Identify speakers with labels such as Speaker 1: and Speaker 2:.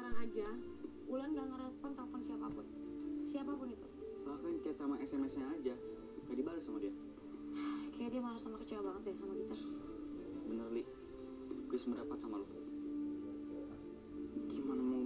Speaker 1: aja Wulan gak ngerespon telepon siapapun siapapun itu
Speaker 2: bahkan kan chat sama SMS-nya aja gak dibalas sama dia
Speaker 1: kayak dia marah sama kecewa banget deh sama kita
Speaker 2: bener li gue sependapat sama lu gimana mau kan Iya, ya?